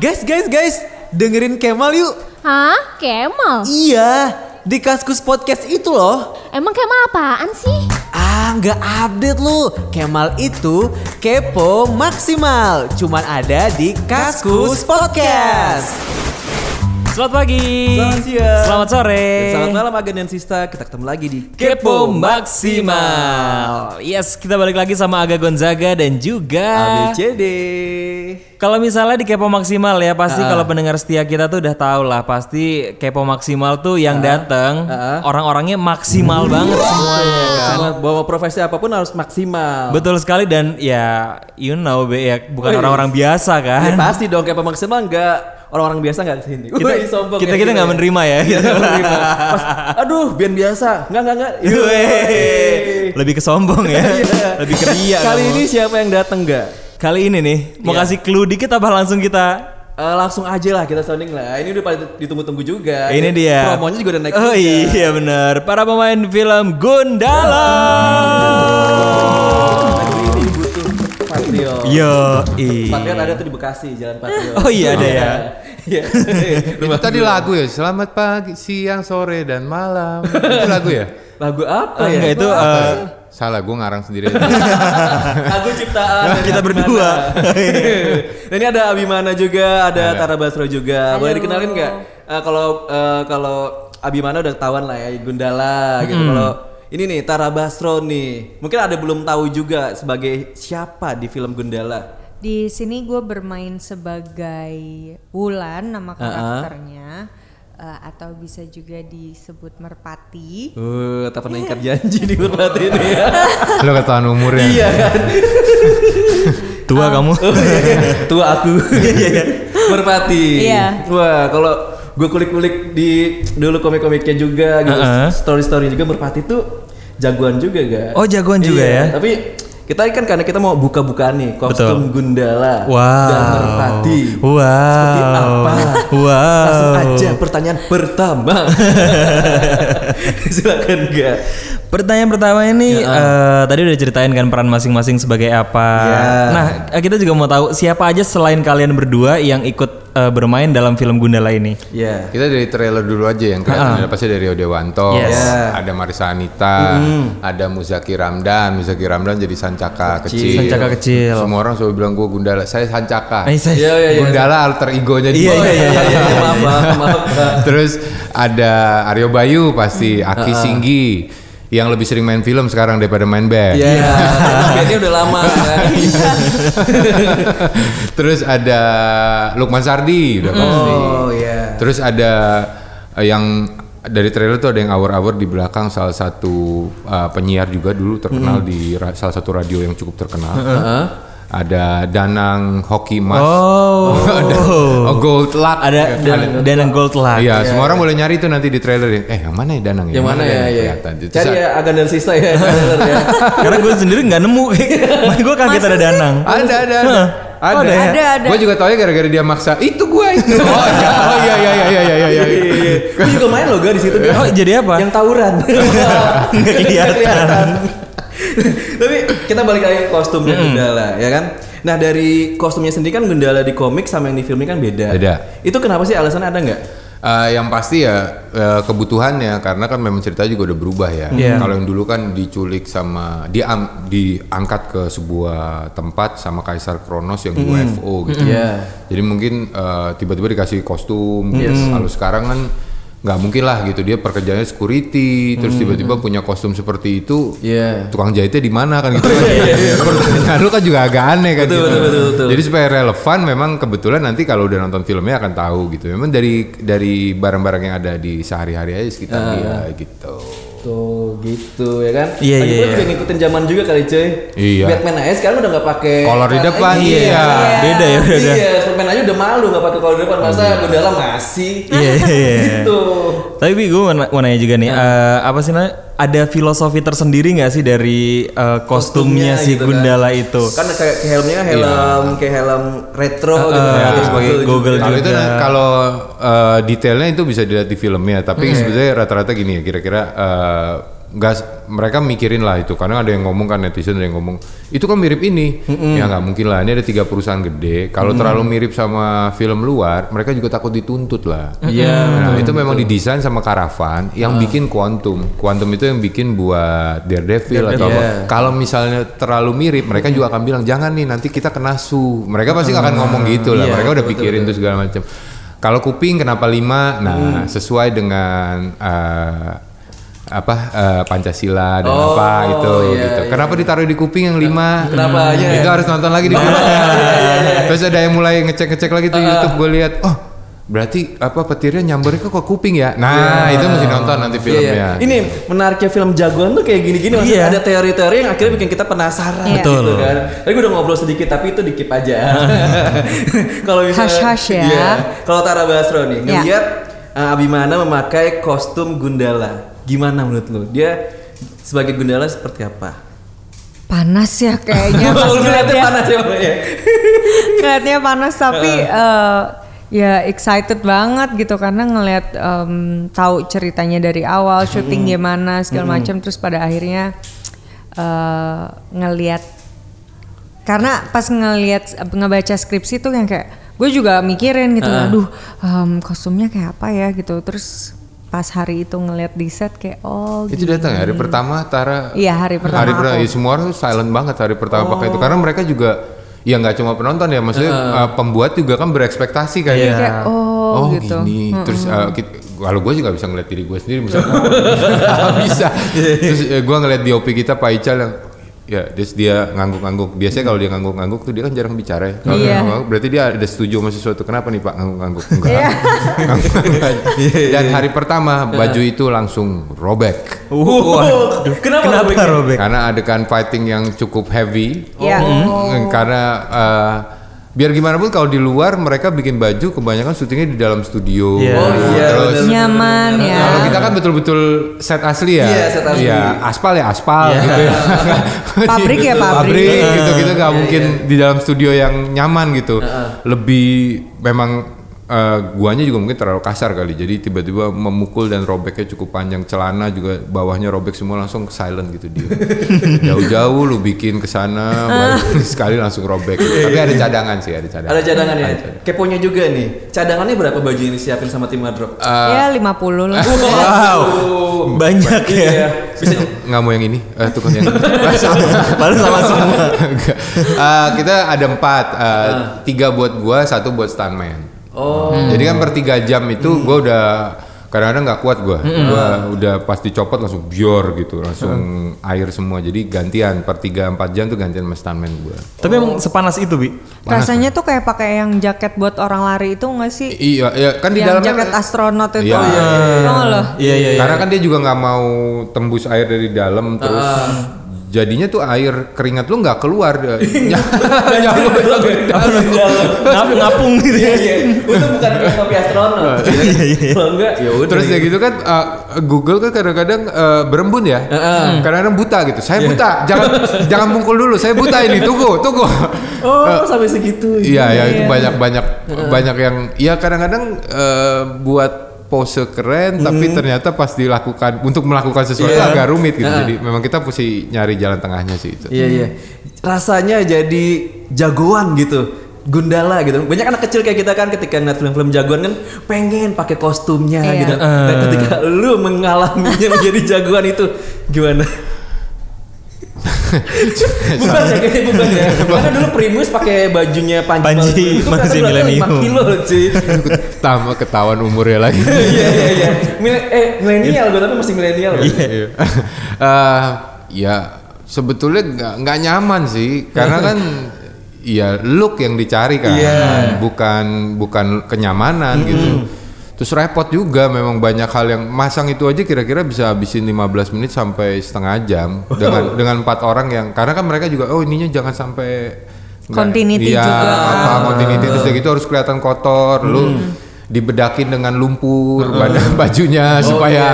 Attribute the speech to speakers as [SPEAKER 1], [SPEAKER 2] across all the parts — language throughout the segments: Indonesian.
[SPEAKER 1] Guys, guys, guys, dengerin Kemal yuk.
[SPEAKER 2] Hah? Kemal?
[SPEAKER 1] Iya, di Kaskus Podcast itu loh.
[SPEAKER 2] Emang Kemal apaan sih?
[SPEAKER 1] Ah, nggak update lu. Kemal itu kepo maksimal. Cuman ada di Kaskus Podcast.
[SPEAKER 3] Selamat pagi.
[SPEAKER 1] Selamat siang.
[SPEAKER 3] Selamat sore.
[SPEAKER 1] Dan selamat malam Agen dan Sista. Kita ketemu lagi di
[SPEAKER 3] Kepo maksimal. Yes, kita balik lagi sama Aga Gonzaga dan juga
[SPEAKER 1] ABCD.
[SPEAKER 3] kalau misalnya di Kepo Maksimal ya pasti
[SPEAKER 1] Ah.
[SPEAKER 3] kalau pendengar setia kita tuh udah tau lah pasti Kepo Maksimal tuh yang datang
[SPEAKER 1] Ah.
[SPEAKER 3] orang-orangnya maksimal banget
[SPEAKER 1] Iya,
[SPEAKER 3] semuanya kan.
[SPEAKER 1] Semua bawa profesi apapun harus maksimal.
[SPEAKER 3] Betul sekali dan ya you know be ya bukan
[SPEAKER 1] Wih.
[SPEAKER 3] orang-orang biasa
[SPEAKER 1] Ya,
[SPEAKER 3] kan.
[SPEAKER 1] pasti dong kepo maksimal nggak orang-orang biasa nggak di sini.
[SPEAKER 3] Kita
[SPEAKER 1] Wih, sombong
[SPEAKER 3] kita
[SPEAKER 1] ya
[SPEAKER 3] kita nggak
[SPEAKER 1] ya.
[SPEAKER 3] menerima ya.
[SPEAKER 1] Terima. iya. Pas, aduh, band biasa. Enggak, enggak, enggak.
[SPEAKER 3] Wih. Lebih kesombong ya. Lebih keria.
[SPEAKER 1] Iya. Kali
[SPEAKER 3] kamu.
[SPEAKER 1] ini siapa yang datang enggak?
[SPEAKER 3] Kali ini
[SPEAKER 1] Iya.
[SPEAKER 3] nih mau kasih clue dikit apa langsung kita?
[SPEAKER 1] Eh, langsung aja lah kita sounding lah. Ini udah paling ditunggu-tunggu juga.
[SPEAKER 3] Ini
[SPEAKER 1] Eh,
[SPEAKER 3] dia.
[SPEAKER 1] Promonya juga udah naik.
[SPEAKER 3] Oh
[SPEAKER 1] juga.
[SPEAKER 3] iya benar. Para pemain film Gundala.
[SPEAKER 1] Lagu ini butuh Patrio.
[SPEAKER 3] Yo.
[SPEAKER 1] Patriot ada tuh di Bekasi, Jalan Patriot.
[SPEAKER 3] Iya. Oh iya ada ya.
[SPEAKER 1] Iya.
[SPEAKER 4] Itu tadi lagu ya, selamat pagi, siang, sore, dan malam. Itu lagu ya?
[SPEAKER 1] Lagu apa
[SPEAKER 3] Oh,
[SPEAKER 1] ya?
[SPEAKER 3] enggak itu eh,
[SPEAKER 4] Salah, gue ngarang sendiri.
[SPEAKER 1] Lagu ciptaan dari
[SPEAKER 3] Nah, Kita
[SPEAKER 1] Abimana.
[SPEAKER 3] berdua. Iya.
[SPEAKER 1] Dan ini ada Abimana juga, ada Tara Basro juga. Boleh dikenalin nggak? Eh, kalau eh, kalau Abimana udah ketahuan lah ya, Gundala
[SPEAKER 3] Hmm.
[SPEAKER 1] gitu. Kalau ini nih Tara Basro nih, mungkin ada belum tahu juga sebagai siapa di film Gundala.
[SPEAKER 5] Di sini gue bermain sebagai Wulan nama karakternya Eh, atau bisa juga disebut Merpati.
[SPEAKER 1] Eh, tak pernah ingkar janji di Merpati ini ya.
[SPEAKER 4] Lo ketahuan umurnya.
[SPEAKER 1] Iya kan? Ah.
[SPEAKER 3] tua kamu.
[SPEAKER 1] Oh, iya, Tua aku.
[SPEAKER 3] Iya,
[SPEAKER 1] Merpati.
[SPEAKER 5] Iya.
[SPEAKER 1] Wah, kalau gue kulik-kulik di dulu komik-komiknya juga gitu,
[SPEAKER 3] Heeh.
[SPEAKER 1] story-story juga Merpati tuh jagoan juga gak?
[SPEAKER 3] Oh, jagoan juga ya?
[SPEAKER 1] Tapi kita kan karena kita mau buka-bukaan nih kostum Gundala
[SPEAKER 3] Wow.
[SPEAKER 1] dan Merpati.
[SPEAKER 3] Wow.
[SPEAKER 1] Seperti apa?
[SPEAKER 3] Wow.
[SPEAKER 1] Langsung aja pertanyaan pertama. Silakan gak?
[SPEAKER 3] Pertanyaan pertama ini
[SPEAKER 1] ah.
[SPEAKER 3] eh, tadi udah ceritain kan peran masing-masing sebagai apa.
[SPEAKER 1] Ya.
[SPEAKER 3] Nah, eh, kita juga mau tahu siapa aja selain kalian berdua yang ikut eh, bermain dalam film Gundala ini.
[SPEAKER 1] Ya.
[SPEAKER 4] Kita dari trailer dulu aja yang kelihatan ada pasti dari Odewanto,
[SPEAKER 3] Yes.
[SPEAKER 4] ada Marisa Anita, ada Muzaki Ramdan, Muzaki Ramdan jadi Sancaka kecil.
[SPEAKER 3] Sancaka kecil.
[SPEAKER 4] Semua orang selalu bilang gue Gundala, saya Sancaka.
[SPEAKER 3] Eh, saya-
[SPEAKER 1] Iya, iya, iya.
[SPEAKER 4] Gundala alter egonya dia.
[SPEAKER 1] Oh, iya, iya, iya, maaf, maaf, maaf.
[SPEAKER 4] Terus ada Aryo Bayu pasti, Aki Singgi yang lebih sering main film sekarang daripada main band.
[SPEAKER 1] Ya, kayaknya udah lama kan.
[SPEAKER 4] Terus ada Lukman Sardi udah pasti.
[SPEAKER 1] Oh, iya.
[SPEAKER 4] Terus ada eh, yang dari trailer tuh ada yang awur-awur di belakang salah satu eh, penyiar juga dulu terkenal di ra- salah satu radio yang cukup terkenal. Ada Danang Hoki Mas.
[SPEAKER 3] Oh.
[SPEAKER 4] ada oh, Gold Luck.
[SPEAKER 3] Ada dan, dan yang Gold lah.
[SPEAKER 4] Iya, semua orang boleh nyari tuh nanti di trailer ya. Eh, yang mana ya Danang ya?
[SPEAKER 1] Yang mana ya?
[SPEAKER 4] Danang?
[SPEAKER 1] ya.
[SPEAKER 4] Kelihatan. Iya, Terus
[SPEAKER 1] Cari ya Agan dan Sista ya. trailer ya.
[SPEAKER 3] Karena gue sendiri nggak nemu. gue kaget ada Danang.
[SPEAKER 4] Ada ada ada.
[SPEAKER 3] Hah?
[SPEAKER 4] Ada.
[SPEAKER 3] Oh, ada ya?
[SPEAKER 5] Ada, ada.
[SPEAKER 4] Gue juga taunya gara-gara dia maksa. Itu gue itu. Oh iya oh, iya iya iya iya iya. iya.
[SPEAKER 1] Iya. Lu juga main loh gak di situ.
[SPEAKER 3] Oh, jadi apa?
[SPEAKER 1] Yang tawuran.
[SPEAKER 3] Nggak kelihatan.
[SPEAKER 1] Tapi kita balik lagi ke kostum dan Gundala ya kan. Nah dari kostumnya sendiri kan Gundala di komik sama yang di filmnya kan beda.
[SPEAKER 4] Beda.
[SPEAKER 1] Itu kenapa sih alasannya ada nggak?
[SPEAKER 4] Eh, yang pasti ya eh, kebutuhannya karena kan memang ceritanya juga udah berubah ya.
[SPEAKER 3] Iya.
[SPEAKER 4] Kalau yang dulu kan diculik sama diam, diangkat ke sebuah tempat sama Kaisar Kronos yang UFO gitu.
[SPEAKER 1] Iya.
[SPEAKER 4] Jadi mungkin eh, tiba-tiba dikasih kostum. Terus Kalau sekarang kan nggak mungkin lah gitu dia pekerjaannya security terus tiba-tiba punya kostum seperti itu
[SPEAKER 1] Iya.
[SPEAKER 4] tukang jahitnya di mana kan gitu kan pertanyaan lu kan juga agak aneh kan gitu jadi supaya relevan memang kebetulan nanti kalau udah nonton filmnya akan tahu gitu memang dari dari barang-barang yang ada di sehari-hari aja sekitar dia gitu
[SPEAKER 1] Tuh gitu ya kan.
[SPEAKER 3] Iya,
[SPEAKER 1] Lagi
[SPEAKER 3] iya,
[SPEAKER 1] pula
[SPEAKER 3] iya.
[SPEAKER 1] juga ngikutin zaman juga kali cuy.
[SPEAKER 4] Iya.
[SPEAKER 1] Batman aja sekarang udah nggak pakai.
[SPEAKER 4] Kolor di
[SPEAKER 1] celana
[SPEAKER 4] depan,
[SPEAKER 1] ini,
[SPEAKER 4] iya.
[SPEAKER 1] ya kan?
[SPEAKER 3] Beda ya, beda.
[SPEAKER 1] Iya, Superman aja udah malu nggak pakai kolor di depan masa Gundala masih.
[SPEAKER 3] Iya, iya, iya.
[SPEAKER 1] Gitu. Nah.
[SPEAKER 3] Tapi gue mau, na- mau nanya juga nih, eh, apa sih namanya? Ada filosofi tersendiri nggak sih dari eh, kostumnya, si
[SPEAKER 1] gitu kan.
[SPEAKER 3] Gundala itu?
[SPEAKER 1] Kan kayak kayak helmnya kan helm kayak helm retro gitu
[SPEAKER 3] eh,
[SPEAKER 1] kan.
[SPEAKER 3] terus
[SPEAKER 1] Gitu
[SPEAKER 3] Iya. pakai
[SPEAKER 1] juga.
[SPEAKER 3] goggle
[SPEAKER 4] kalau itu
[SPEAKER 3] juga.
[SPEAKER 4] na- kalau eh, detailnya itu bisa dilihat di filmnya tapi sebenarnya rata-rata gini ya kira-kira eh, nggak s- mereka mikirin lah itu karena ada yang ngomong kan netizen ada yang ngomong itu kan mirip ini ya nggak mungkin lah ini ada tiga perusahaan gede kalau terlalu mirip sama film luar mereka juga takut dituntut lah
[SPEAKER 3] Iya.
[SPEAKER 1] Iya, Hmm.
[SPEAKER 4] nah itu memang didesain sama Karavan
[SPEAKER 1] Ah.
[SPEAKER 4] yang bikin Quantum Quantum itu yang bikin buat Daredevil atau apa
[SPEAKER 1] iya.
[SPEAKER 4] kalau misalnya terlalu mirip mereka juga akan bilang jangan nih nanti kita kena su mereka pasti akan ngomong gitu lah
[SPEAKER 1] Iya,
[SPEAKER 4] mereka udah pikirin tuh segala macam kalau kuping kenapa lima
[SPEAKER 1] Hmm.
[SPEAKER 4] nah sesuai dengan eh, apa eh, Pancasila dan
[SPEAKER 1] Oh,
[SPEAKER 4] apa gitu
[SPEAKER 1] iya,
[SPEAKER 4] gitu.
[SPEAKER 1] iya.
[SPEAKER 4] Kenapa ditaruh di kuping yang lima?
[SPEAKER 1] Kenapa aja
[SPEAKER 4] Itu
[SPEAKER 1] ya?
[SPEAKER 4] harus nonton lagi di film.
[SPEAKER 1] iya,
[SPEAKER 4] Terus ada yang mulai ngecek-ngecek lagi tuh YouTube gue lihat. Oh, berarti apa petirnya nyambernya kok ke kuping ya? Nah, itu mesti nonton nanti filmnya.
[SPEAKER 1] Iya. Ini menariknya film jagoan tuh kayak gini-gini. Maksudnya
[SPEAKER 3] Iya.
[SPEAKER 1] ada teori-teori yang akhirnya bikin kita penasaran
[SPEAKER 5] Iya.
[SPEAKER 1] gitu kan. Tadi gue udah ngobrol sedikit tapi itu dikip aja. Kalau misalnya
[SPEAKER 5] Hush-hush ya.
[SPEAKER 1] Iya. Kalau Tara Basro nih
[SPEAKER 5] Iya.
[SPEAKER 1] ngeliat uh, Abimana memakai kostum Gundala. Gimana menurut lu? Dia sebagai Gundala seperti apa?
[SPEAKER 5] Panas ya kayaknya. pas
[SPEAKER 1] Kalau ngeliatnya
[SPEAKER 5] ngeliatnya.
[SPEAKER 1] panas ya, Mbak, ya.
[SPEAKER 5] Kelihatannya panas tapi eh, ya excited banget gitu karena ngelihat em, tahu ceritanya dari awal, syuting gimana segala macam terus pada akhirnya eh, ngelihat karena pas ngelihat ngebaca skripsi tuh yang kayak gue juga mikirin gitu, aduh em, kostumnya kayak apa ya gitu terus pas hari itu ngelihat di set kayak oh
[SPEAKER 4] Itu datang ya, hari pertama Tara.
[SPEAKER 5] Iya, hari pertama
[SPEAKER 4] Hari pertama
[SPEAKER 5] aku.
[SPEAKER 4] ya, semua orang tuh silent banget hari pertama pakai itu karena mereka juga ya nggak cuma penonton ya, maksudnya eh, pembuat juga kan berekspektasi kan ya.
[SPEAKER 5] Kayak, oh, gitu.
[SPEAKER 4] gini. Terus eh, kit- kalau gue juga bisa ngeliat diri gue sendiri misalnya Nggak bisa. Terus eh, gue ngeliat di OP kita Pak Ical yang ya terus dia ngangguk-ngangguk. Biasanya kalau dia ngangguk-ngangguk tuh dia kan jarang bicara ya. Kalau dia
[SPEAKER 5] Iya.
[SPEAKER 4] ngangguk-ngangguk, berarti dia ada setuju sama sesuatu. Kenapa nih Pak ngangguk-ngangguk? Enggak. Dan hari pertama baju itu langsung robek.
[SPEAKER 1] Wow. Kenapa?
[SPEAKER 3] Kenapa
[SPEAKER 1] robeknya?
[SPEAKER 3] robek?
[SPEAKER 4] Karena adegan fighting yang cukup heavy.
[SPEAKER 5] Iya.
[SPEAKER 3] Oh.
[SPEAKER 4] Mm, Karena eh, biar gimana pun kalau di luar mereka bikin baju kebanyakan syutingnya di dalam studio.
[SPEAKER 3] Iya. Oh,
[SPEAKER 1] iya,
[SPEAKER 4] Terus
[SPEAKER 1] bener.
[SPEAKER 5] nyaman ya
[SPEAKER 4] kalau kita kan betul-betul set asli ya.
[SPEAKER 1] Iya, set asli.
[SPEAKER 4] Iya, aspal ya aspal
[SPEAKER 3] Iya.
[SPEAKER 4] gitu ya.
[SPEAKER 5] Pabrik ya, pabrik.
[SPEAKER 4] gitu gitu nggak mungkin di dalam studio yang nyaman gitu. Lebih memang eh, guanya juga mungkin terlalu kasar kali. Jadi tiba-tiba memukul dan robeknya cukup panjang celana juga bawahnya robek semua langsung silent gitu dia. Jauh-jauh lu bikin ke sana baru sekali langsung robek. Tapi ada cadangan sih, ada cadangan.
[SPEAKER 1] Ada cadangan ya. Keponya juga nih. Cadangannya berapa baju yang disiapin sama tim wardrobe?
[SPEAKER 5] ya 50 lah
[SPEAKER 3] Wow, banyak ya.
[SPEAKER 1] Iya. Bisa
[SPEAKER 4] nggak mau yang ini eh, tukang yang ini.
[SPEAKER 3] Padahal sama semua.
[SPEAKER 4] Enggak. Eh, kita ada empat, eh, tiga buat gua, satu buat stuntman.
[SPEAKER 1] Oh.
[SPEAKER 4] Jadi kan per tiga jam itu gua udah kadang-kadang nggak kuat gua, gua udah pas dicopot langsung bior gitu, langsung air semua. Jadi gantian per tiga empat jam tuh gantian sama stuntman gua.
[SPEAKER 3] Tapi emang sepanas itu bi?
[SPEAKER 5] rasanya tuh kayak pakai yang jaket buat orang lari itu nggak sih
[SPEAKER 4] I- Iya, iya kan di
[SPEAKER 5] yang
[SPEAKER 4] dalamnya
[SPEAKER 5] jaket astronot itu
[SPEAKER 4] Iya.
[SPEAKER 5] Tau nggak lo?
[SPEAKER 3] Iya iya.
[SPEAKER 4] Karena kan dia juga nggak mau tembus air dari dalam terus jadinya tuh air keringat lu nggak keluar eh, ny- nyamuk dari dalam.
[SPEAKER 3] Ngap, ngapung gitu ya.
[SPEAKER 1] Iya, iya. Untung bukan kayak kopi astronot. Kalau enggak, ya udah.
[SPEAKER 4] Terus ya gitu kan uh, Google kan kadang-kadang uh, berembun ya. Kadang-kadang buta gitu. Saya buta. Jangan jangan mungkul dulu. Saya buta ini. Tunggu, tunggu.
[SPEAKER 1] Oh, sampai segitu.
[SPEAKER 4] Iya, ya itu banyak-banyak banyak yang ya kadang-kadang uh, buat pose keren tapi ternyata pas dilakukan untuk melakukan sesuatu
[SPEAKER 1] Iya.
[SPEAKER 4] agak rumit gitu. Jadi memang kita mesti nyari jalan tengahnya sih itu.
[SPEAKER 1] Iya, iya. Rasanya jadi jagoan gitu. Gundala gitu. Banyak anak kecil kayak kita kan ketika ngeliat film-film jagoan kan pengen pakai kostumnya
[SPEAKER 5] Iya.
[SPEAKER 1] gitu. Dan ketika lu mengalaminya menjadi jagoan itu gimana? bukan ya, kayaknya bukan ya. Karena dulu Primus pakai bajunya Panji,
[SPEAKER 3] Panji,
[SPEAKER 1] Panji
[SPEAKER 3] Panji Milenium.
[SPEAKER 1] Kilo, cuy.
[SPEAKER 4] Tambah Kan ketahuan umurnya lagi.
[SPEAKER 1] Iya iya iya. Mil- eh milenial gue tapi masih milenial. Iya.
[SPEAKER 4] Iya. Eh, ya sebetulnya nggak nggak nyaman sih karena kan ya look yang dicari kan bukan bukan kenyamanan gitu terus repot juga memang banyak hal yang masang itu aja kira-kira bisa habisin 15 menit sampai setengah jam dengan dengan empat orang yang karena kan mereka juga oh ininya jangan sampai nggak-
[SPEAKER 5] Continuity
[SPEAKER 4] Iya,
[SPEAKER 5] juga.
[SPEAKER 1] Ah. Hmm.
[SPEAKER 4] apa, continuity terus udah gitu harus kelihatan kotor lu dibedakin dengan lumpur badan bajunya supaya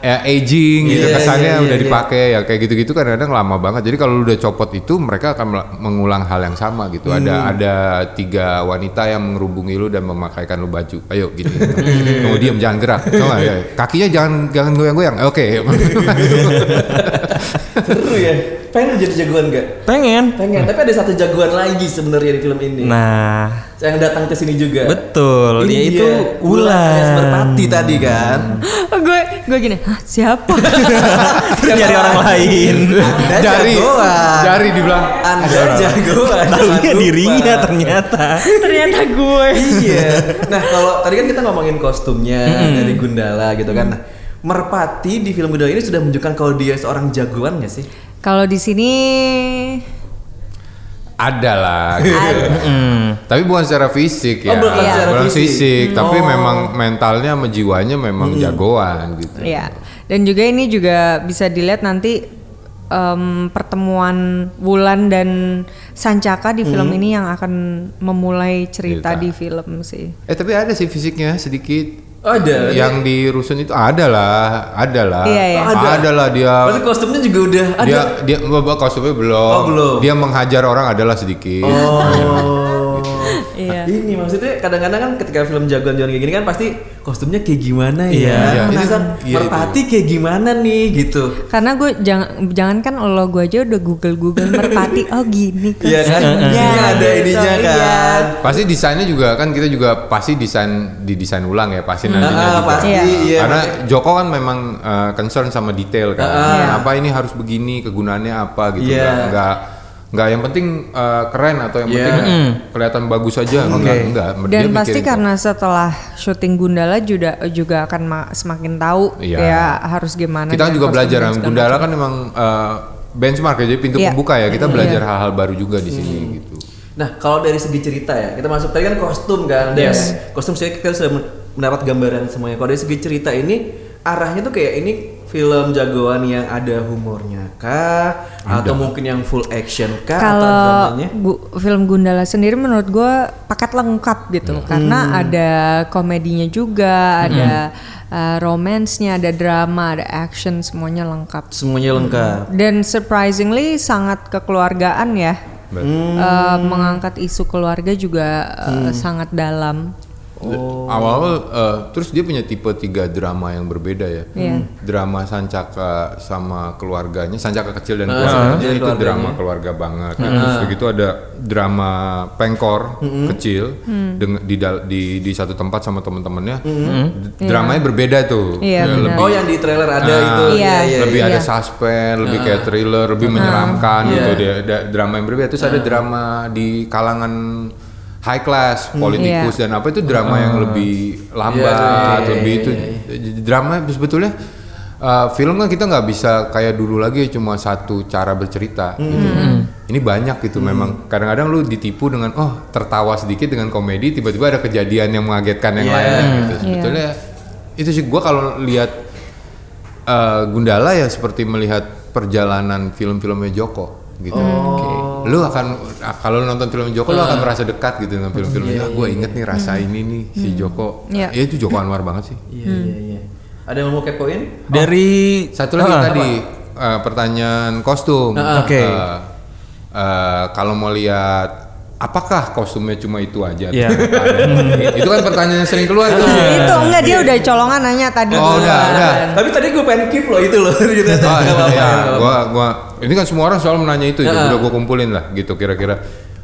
[SPEAKER 4] eh, aging
[SPEAKER 1] Oh,
[SPEAKER 4] gitu
[SPEAKER 1] Iya,
[SPEAKER 4] kesannya
[SPEAKER 1] iya, iya,
[SPEAKER 4] udah
[SPEAKER 1] iya.
[SPEAKER 4] dipakai ya kayak gitu-gitu kadang-kadang lama banget. Jadi kalau lu udah copot itu mereka akan mel- mengulang hal yang sama gitu.
[SPEAKER 1] Hmm.
[SPEAKER 4] Ada ada tiga wanita yang mengerubungi lu dan memakaikan lu baju. Ayo gitu.
[SPEAKER 1] Hmm.
[SPEAKER 4] Tunggu diam jangan gerak. Tau nggak? Ya, Kakinya jangan jangan goyang-goyang. Oke.
[SPEAKER 1] Seru ya. Pengen jadi jagoan gak?
[SPEAKER 3] Pengen.
[SPEAKER 1] Pengen, tapi ada satu jagoan lagi sebenarnya di film ini.
[SPEAKER 3] Nah,
[SPEAKER 1] Yang datang ke sini juga. Iya.
[SPEAKER 3] Betul,
[SPEAKER 1] Iya. Ini
[SPEAKER 3] yaitu
[SPEAKER 1] dia,
[SPEAKER 3] Wulan.
[SPEAKER 1] Ayas Merpati tadi kan.
[SPEAKER 5] gue gue gini hah siapa
[SPEAKER 3] terus nyari orang lain.
[SPEAKER 1] Anda
[SPEAKER 4] Jari
[SPEAKER 1] jagoan.
[SPEAKER 4] jari dibilang.
[SPEAKER 1] Anda jagoan.
[SPEAKER 3] Taunya
[SPEAKER 1] jangan lupa.
[SPEAKER 3] dirinya ternyata.
[SPEAKER 5] ternyata gue
[SPEAKER 1] iya. Nah, kalau tadi kan kita ngomongin kostumnya dari Gundala gitu kan. Nah, Merpati di film Gundala ini sudah menunjukkan kalau dia seorang jagoan gak sih?
[SPEAKER 5] kalau di sini
[SPEAKER 4] Ada lah. gitu. Tapi bukan secara fisik ya.
[SPEAKER 1] Oh, bukan
[SPEAKER 5] Iya.
[SPEAKER 1] secara
[SPEAKER 4] Bukan
[SPEAKER 1] fisik. Oh. Hmm.
[SPEAKER 4] tapi memang mentalnya sama jiwanya memang jagoan gitu.
[SPEAKER 1] Iya.
[SPEAKER 5] ya dan juga ini juga bisa dilihat nanti em, pertemuan Wulan dan Sancaka di film ini yang akan memulai cerita,
[SPEAKER 4] Hmm. Cerita.
[SPEAKER 5] di film sih
[SPEAKER 4] Eh tapi ada sih fisiknya sedikit.
[SPEAKER 1] Ada.
[SPEAKER 4] yang di rusun itu ada lah, ada lah.
[SPEAKER 5] Iya, iya.
[SPEAKER 1] Ada.
[SPEAKER 4] Ada lah dia.
[SPEAKER 1] Berarti kostumnya juga udah ada.
[SPEAKER 4] Dia dia enggak, enggak, kostumnya belum.
[SPEAKER 1] Oh, belum.
[SPEAKER 4] Dia menghajar orang adalah sedikit.
[SPEAKER 1] Oh.
[SPEAKER 5] Iya.
[SPEAKER 1] Ini maksudnya kadang-kadang kan ketika film jagoan-jagoan kayak gini kan pasti kostumnya kayak gimana ya.
[SPEAKER 3] Iya.
[SPEAKER 4] Iya,
[SPEAKER 1] Nah,
[SPEAKER 4] itu-
[SPEAKER 1] misal
[SPEAKER 4] iya, itu.
[SPEAKER 1] merpati kayak gimana nih gitu.
[SPEAKER 5] karena gue jangan jangankan lo gue aja udah google google merpati oh gini
[SPEAKER 1] Iya kan? Isinya ada
[SPEAKER 5] gitu,
[SPEAKER 1] ininya
[SPEAKER 5] iya.
[SPEAKER 1] kan.
[SPEAKER 4] Pasti desainnya juga kan kita juga pasti desain didesain ulang ya pasti nantinya
[SPEAKER 1] Ah,
[SPEAKER 4] juga.
[SPEAKER 1] pasti
[SPEAKER 5] Iya.
[SPEAKER 1] iya.
[SPEAKER 4] Karena Joko kan memang eh, concern sama detail kan.
[SPEAKER 5] Iya.
[SPEAKER 1] Ah.
[SPEAKER 4] Apa ini harus begini, kegunaannya apa gitu.
[SPEAKER 1] Iya.
[SPEAKER 4] Nggak- Nggak nggak yang penting eh, keren atau yang
[SPEAKER 1] Iya.
[SPEAKER 4] penting kelihatan bagus aja. Enggak, enggak. Dia
[SPEAKER 5] Dan
[SPEAKER 4] mikir
[SPEAKER 5] pasti
[SPEAKER 4] itu.
[SPEAKER 5] karena setelah syuting Gundala juga juga akan ma- semakin tahu
[SPEAKER 4] Iya.
[SPEAKER 5] ya harus gimana.
[SPEAKER 4] kita
[SPEAKER 5] dan
[SPEAKER 4] juga
[SPEAKER 5] kostum
[SPEAKER 4] belajar
[SPEAKER 5] dan
[SPEAKER 4] kan.
[SPEAKER 5] segala
[SPEAKER 4] Gundala kan memang eh, benchmark ya jadi pintu
[SPEAKER 5] Iya.
[SPEAKER 4] pembuka ya. Kita belajar hal-hal baru juga di sini gitu.
[SPEAKER 1] Nah, kalau dari segi cerita ya, kita masuk tadi kan kostum kan. Dan Kostum saya kita sudah men- mendapat gambaran semuanya. Kalau dari segi cerita ini arahnya tuh kayak ini film jagoan yang ada humornya kah atau mungkin yang full action kah atau
[SPEAKER 5] kalau
[SPEAKER 1] dramanya?
[SPEAKER 5] gu- film Gundala sendiri menurut gue paket lengkap
[SPEAKER 4] Iya.
[SPEAKER 5] gitu karena ada komedinya juga ada
[SPEAKER 4] Hmm.
[SPEAKER 5] uh, romansnya ada drama ada action semuanya lengkap
[SPEAKER 1] Semuanya lengkap.
[SPEAKER 5] dan surprisingly sangat kekeluargaan ya Uh, mengangkat isu keluarga juga uh, sangat dalam
[SPEAKER 4] Awal-awal eh, terus dia punya tipe tiga drama yang berbeda ya.
[SPEAKER 5] Iya.
[SPEAKER 4] Drama Sancaka sama keluarganya, Sancaka kecil dan keluarganya
[SPEAKER 1] kecil
[SPEAKER 4] itu
[SPEAKER 1] keluarganya.
[SPEAKER 4] drama keluarga banget. gitu. Terus begitu ada drama Pengkor kecil
[SPEAKER 5] Hmm.
[SPEAKER 4] deng- di, dal- di di satu tempat sama teman-temannya. D- Dramanya berbeda tuh.
[SPEAKER 5] Iya,
[SPEAKER 4] Ya,
[SPEAKER 5] benar.
[SPEAKER 4] lebih-
[SPEAKER 1] Oh, yang di trailer ada
[SPEAKER 4] Ah,
[SPEAKER 1] itu.
[SPEAKER 5] Iya.
[SPEAKER 4] lebih ada
[SPEAKER 5] Iya.
[SPEAKER 4] suspense, lebih kayak thriller, lebih menyeramkan gitu dia. Da- drama yang berbeda terus ada drama di kalangan high class,
[SPEAKER 5] Hmm.
[SPEAKER 4] politikus
[SPEAKER 5] Iya.
[SPEAKER 4] dan apa itu drama yang lebih lambat, lebih itu gitu. drama sebetulnya uh, film kan kita nggak bisa kayak dulu lagi cuma satu cara bercerita gitu. Ini banyak gitu memang. Kadang-kadang lu ditipu dengan oh tertawa sedikit dengan komedi tiba-tiba ada kejadian yang mengagetkan yang lain gitu. Sebetulnya itu sih gua kalau lihat Eh, Gundala ya seperti melihat perjalanan film-filmnya Joko gitu. Lu akan ah, kalau lu nonton film Joko lu akan merasa dekat gitu dengan film-filmnya. Ah, gue inget nih rasa ini nih si Joko.
[SPEAKER 5] Iya.
[SPEAKER 4] Ya itu Joko Anwar banget sih.
[SPEAKER 1] Iya, iya,
[SPEAKER 5] Hmm.
[SPEAKER 1] iya. Ada yang mau kepoin?
[SPEAKER 3] Dari
[SPEAKER 4] Oh, Satu lagi
[SPEAKER 3] Ah,
[SPEAKER 4] tadi eh, pertanyaan kostum.
[SPEAKER 3] Oke.
[SPEAKER 4] Eh, eh, kalau mau lihat apakah kostumnya cuma itu aja?
[SPEAKER 3] Iya.
[SPEAKER 4] itu kan pertanyaan yang sering keluar tuh.
[SPEAKER 5] itu enggak dia udah colongan nanya tadi
[SPEAKER 4] Iya.
[SPEAKER 5] kan.
[SPEAKER 4] Oh, udah, udah.
[SPEAKER 1] Tapi tadi gue pengen keep loh itu loh. Gitu.
[SPEAKER 4] Oh,
[SPEAKER 1] Nggak apa-apa,
[SPEAKER 4] iya,
[SPEAKER 1] nggak apa-apa.
[SPEAKER 4] gua, gua, ini kan semua orang selalu menanya itu, ya, udah gue kumpulin lah gitu kira-kira.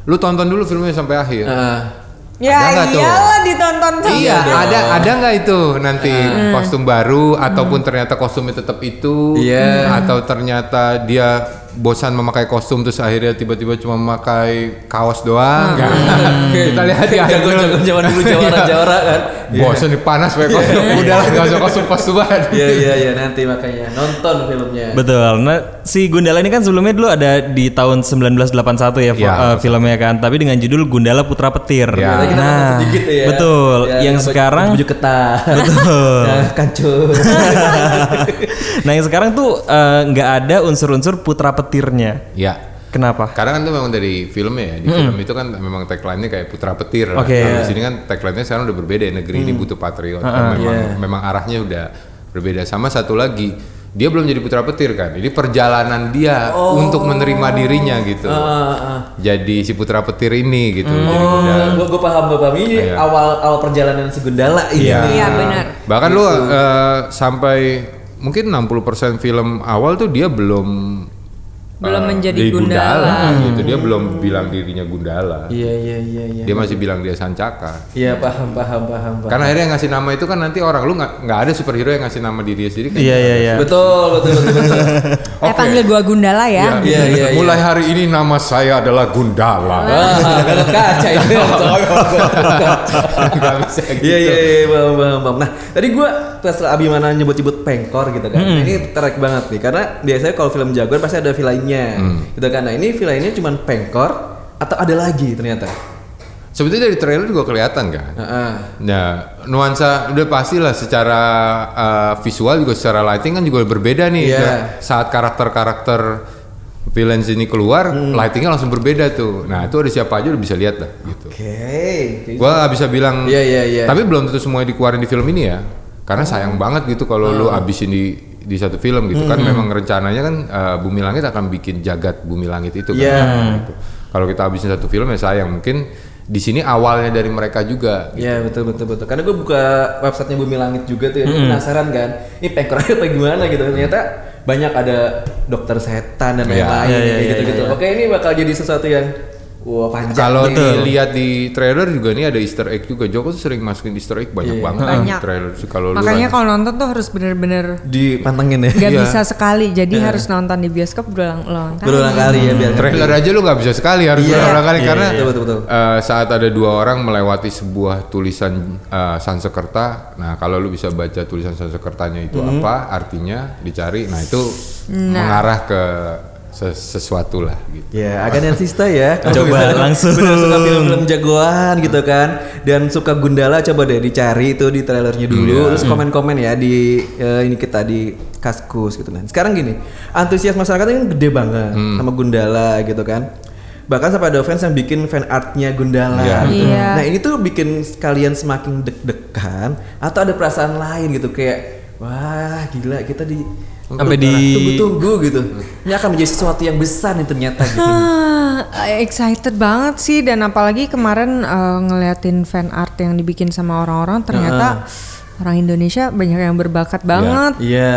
[SPEAKER 4] Lu tonton dulu filmnya sampai akhir.
[SPEAKER 1] Heeh.
[SPEAKER 5] ya
[SPEAKER 4] Ada nggak tuh?
[SPEAKER 5] iyalah ditonton terus.
[SPEAKER 4] Iya, ada ada nggak itu nanti kostum baru ataupun ternyata kostumnya tetap itu,
[SPEAKER 1] Iya.
[SPEAKER 4] atau ternyata dia bosan memakai kostum terus akhirnya tiba-tiba cuma memakai kaos doang. Kita lihat ya. di akhir dulu. Iya.
[SPEAKER 1] Jagoan-jagoan zaman dulu jawara-jawara kan.
[SPEAKER 4] Bosan panas pakai kostum, udahlah nggak usah kostum kostuman.
[SPEAKER 1] Iya iya iya nanti makanya nonton filmnya.
[SPEAKER 3] Betul. Nah, si Gundala ini kan sebelumnya dulu ada di tahun 1981 ya, fo-
[SPEAKER 4] Ya,
[SPEAKER 3] eh, filmnya kan, tapi dengan judul Gundala Putra Petir.
[SPEAKER 4] Ya.
[SPEAKER 1] Nanti kita nonton
[SPEAKER 3] Nah,
[SPEAKER 1] sedikit ya.
[SPEAKER 3] betul.
[SPEAKER 1] Ya,
[SPEAKER 3] yang
[SPEAKER 1] baju-
[SPEAKER 3] sekarang
[SPEAKER 1] baju ketat.
[SPEAKER 3] Betul.
[SPEAKER 1] Ya, kancung.
[SPEAKER 3] Nah, yang sekarang tuh eh, nggak ada unsur-unsur putra petirnya.
[SPEAKER 4] Ya.
[SPEAKER 3] Kenapa?
[SPEAKER 4] Karena kan itu memang dari filmnya ya.
[SPEAKER 5] Hmm.
[SPEAKER 4] Di film itu kan memang tagline-nya kayak putra petir. lah.
[SPEAKER 3] Oke.
[SPEAKER 4] Kalau Di sini kan tagline-nya sekarang udah berbeda. ya, Negeri
[SPEAKER 5] Hmm.
[SPEAKER 4] ini butuh patriot.
[SPEAKER 5] Ah,
[SPEAKER 4] Kan memang
[SPEAKER 5] iya.
[SPEAKER 4] memang arahnya udah berbeda. Sama satu lagi, dia belum jadi putra petir kan. Ini perjalanan dia
[SPEAKER 5] Oh.
[SPEAKER 4] untuk menerima dirinya gitu.
[SPEAKER 5] Ah,
[SPEAKER 4] Jadi si putra petir ini gitu.
[SPEAKER 5] Hmm.
[SPEAKER 4] Jadi udah
[SPEAKER 5] Oh.
[SPEAKER 1] gue gue paham gue paham ini
[SPEAKER 4] Iya.
[SPEAKER 1] awal awal perjalanan si Gundala ini.
[SPEAKER 4] Iya.
[SPEAKER 5] Iya, benar.
[SPEAKER 4] Bahkan lu
[SPEAKER 5] Gitu.
[SPEAKER 4] eh, sampai mungkin 60% film awal tuh dia belum eh,
[SPEAKER 5] Belum menjadi
[SPEAKER 4] di
[SPEAKER 5] Gundala. Hmm.
[SPEAKER 4] gitu. Dia belum bilang dirinya Gundala.
[SPEAKER 1] Iya iya iya iya.
[SPEAKER 4] Dia masih bilang dia Sancaka.
[SPEAKER 1] Iya paham paham paham paham.
[SPEAKER 4] Karena akhirnya yang ngasih nama itu kan nanti orang lu nggak nggak ada superhero yang ngasih nama diri dia sendiri kan.
[SPEAKER 3] Iya iya iya.
[SPEAKER 1] Betul betul betul. betul.
[SPEAKER 5] Eh panggil gua Gundala ya.
[SPEAKER 1] Iya, iya, iya.
[SPEAKER 4] gitu. Mulai hari ini nama saya adalah Gundala.
[SPEAKER 1] Wah, kalau kaca itu Ah.
[SPEAKER 4] Nggak bisa gitu.
[SPEAKER 1] Iya iya iya paham paham paham. Nah tadi gue pas Abimana nyebut-nyebut pengkor gitu kan. Nah, Ini tertarik banget nih karena biasanya kalau film jagoan pasti ada villainnya gitu kan. Nah ini villainnya cuma pengkor atau ada lagi ternyata.
[SPEAKER 4] Sebetulnya dari trailer juga kelihatan kan.
[SPEAKER 1] Heeh.
[SPEAKER 4] Nah, nuansa udah pastilah secara uh, visual juga secara lighting kan juga berbeda nih.
[SPEAKER 1] Iya.
[SPEAKER 4] Nah, Saat karakter-karakter villains ini keluar,
[SPEAKER 1] Hmm.
[SPEAKER 4] lightingnya langsung berbeda tuh. Nah, itu ada siapa aja udah bisa lihat lah gitu.
[SPEAKER 1] Oke.
[SPEAKER 4] Gua nggak bisa bilang.
[SPEAKER 1] Iya, iya, iya.
[SPEAKER 4] Tapi belum tentu semuanya dikeluarin di film ini ya. Karena sayang banget gitu kalau lu
[SPEAKER 1] Hmm.
[SPEAKER 4] abisin di di satu film gitu kan memang rencananya kan uh, Bumi Langit akan bikin jagat Bumi Langit itu kan.
[SPEAKER 1] Iya.
[SPEAKER 4] Gitu. Kalau kita abisin satu film ya sayang mungkin di sini awalnya dari mereka juga
[SPEAKER 1] Iya betul betul betul. Karena gue buka websitenya Bumi Langit juga tuh, ya, gua penasaran kan. Ini pengkorannya apa gimana gitu. Ternyata banyak ada dokter setan dan
[SPEAKER 4] Iya.
[SPEAKER 1] lain-lain
[SPEAKER 3] Iya, iya,
[SPEAKER 1] kayak
[SPEAKER 3] iya,
[SPEAKER 1] gitu-gitu. Oke ini bakal jadi sesuatu yang wah panjang.
[SPEAKER 4] Kalau
[SPEAKER 1] nih.
[SPEAKER 4] dilihat di trailer juga nih ada Easter egg juga. Joko tuh sering masukin Easter egg
[SPEAKER 1] Iya.
[SPEAKER 4] banyak banget di
[SPEAKER 5] Banyak.
[SPEAKER 4] trailer. So, Kalau lu
[SPEAKER 5] Makanya
[SPEAKER 4] kan-
[SPEAKER 5] kalau nonton tuh harus bener-bener
[SPEAKER 1] dipantengin ya.
[SPEAKER 5] nggak bisa sekali. Jadi harus nonton di bioskop berulang-ulang kali.
[SPEAKER 1] Berulang kali ya biar
[SPEAKER 4] trailer aja lu nggak bisa sekali harus
[SPEAKER 1] Iya.
[SPEAKER 4] berulang kali
[SPEAKER 1] Iya,
[SPEAKER 4] karena
[SPEAKER 1] iya, iya. Betul, betul, betul.
[SPEAKER 4] eh, saat ada dua orang melewati sebuah tulisan eh, Sansekerta. Nah kalau lu bisa baca tulisan Sansekertanya itu
[SPEAKER 1] Mhm.
[SPEAKER 4] apa artinya dicari. Nah itu mengarah ke ses- sesuatu lah gitu.
[SPEAKER 1] Ya, agak nensista ya. Kalau
[SPEAKER 3] Coba
[SPEAKER 1] misalnya
[SPEAKER 3] langsung.
[SPEAKER 1] bener suka film-film jagoan gitu kan, dan suka Gundala coba deh dicari itu di trailernya
[SPEAKER 3] Iya.
[SPEAKER 1] dulu, terus komen-komen ya di eh, ini kita di Kaskus gitu kan. Sekarang gini, antusias masyarakat kan gede banget
[SPEAKER 3] Hmm.
[SPEAKER 1] sama Gundala gitu kan. Bahkan sampai ada fans yang bikin fan artnya Gundala.
[SPEAKER 4] Iya.
[SPEAKER 1] gitu.
[SPEAKER 5] Iya.
[SPEAKER 1] Nah ini tuh bikin kalian semakin deg-degan atau ada perasaan lain gitu kayak wah gila kita di
[SPEAKER 3] Sampai di-
[SPEAKER 1] tunggu-tunggu gitu. Ini akan menjadi sesuatu yang besar nih ternyata gitu.
[SPEAKER 5] Ah, excited banget sih dan apalagi kemarin eh, ngeliatin fan art yang dibikin sama orang-orang ternyata orang Indonesia banyak yang berbakat banget.
[SPEAKER 1] Iya.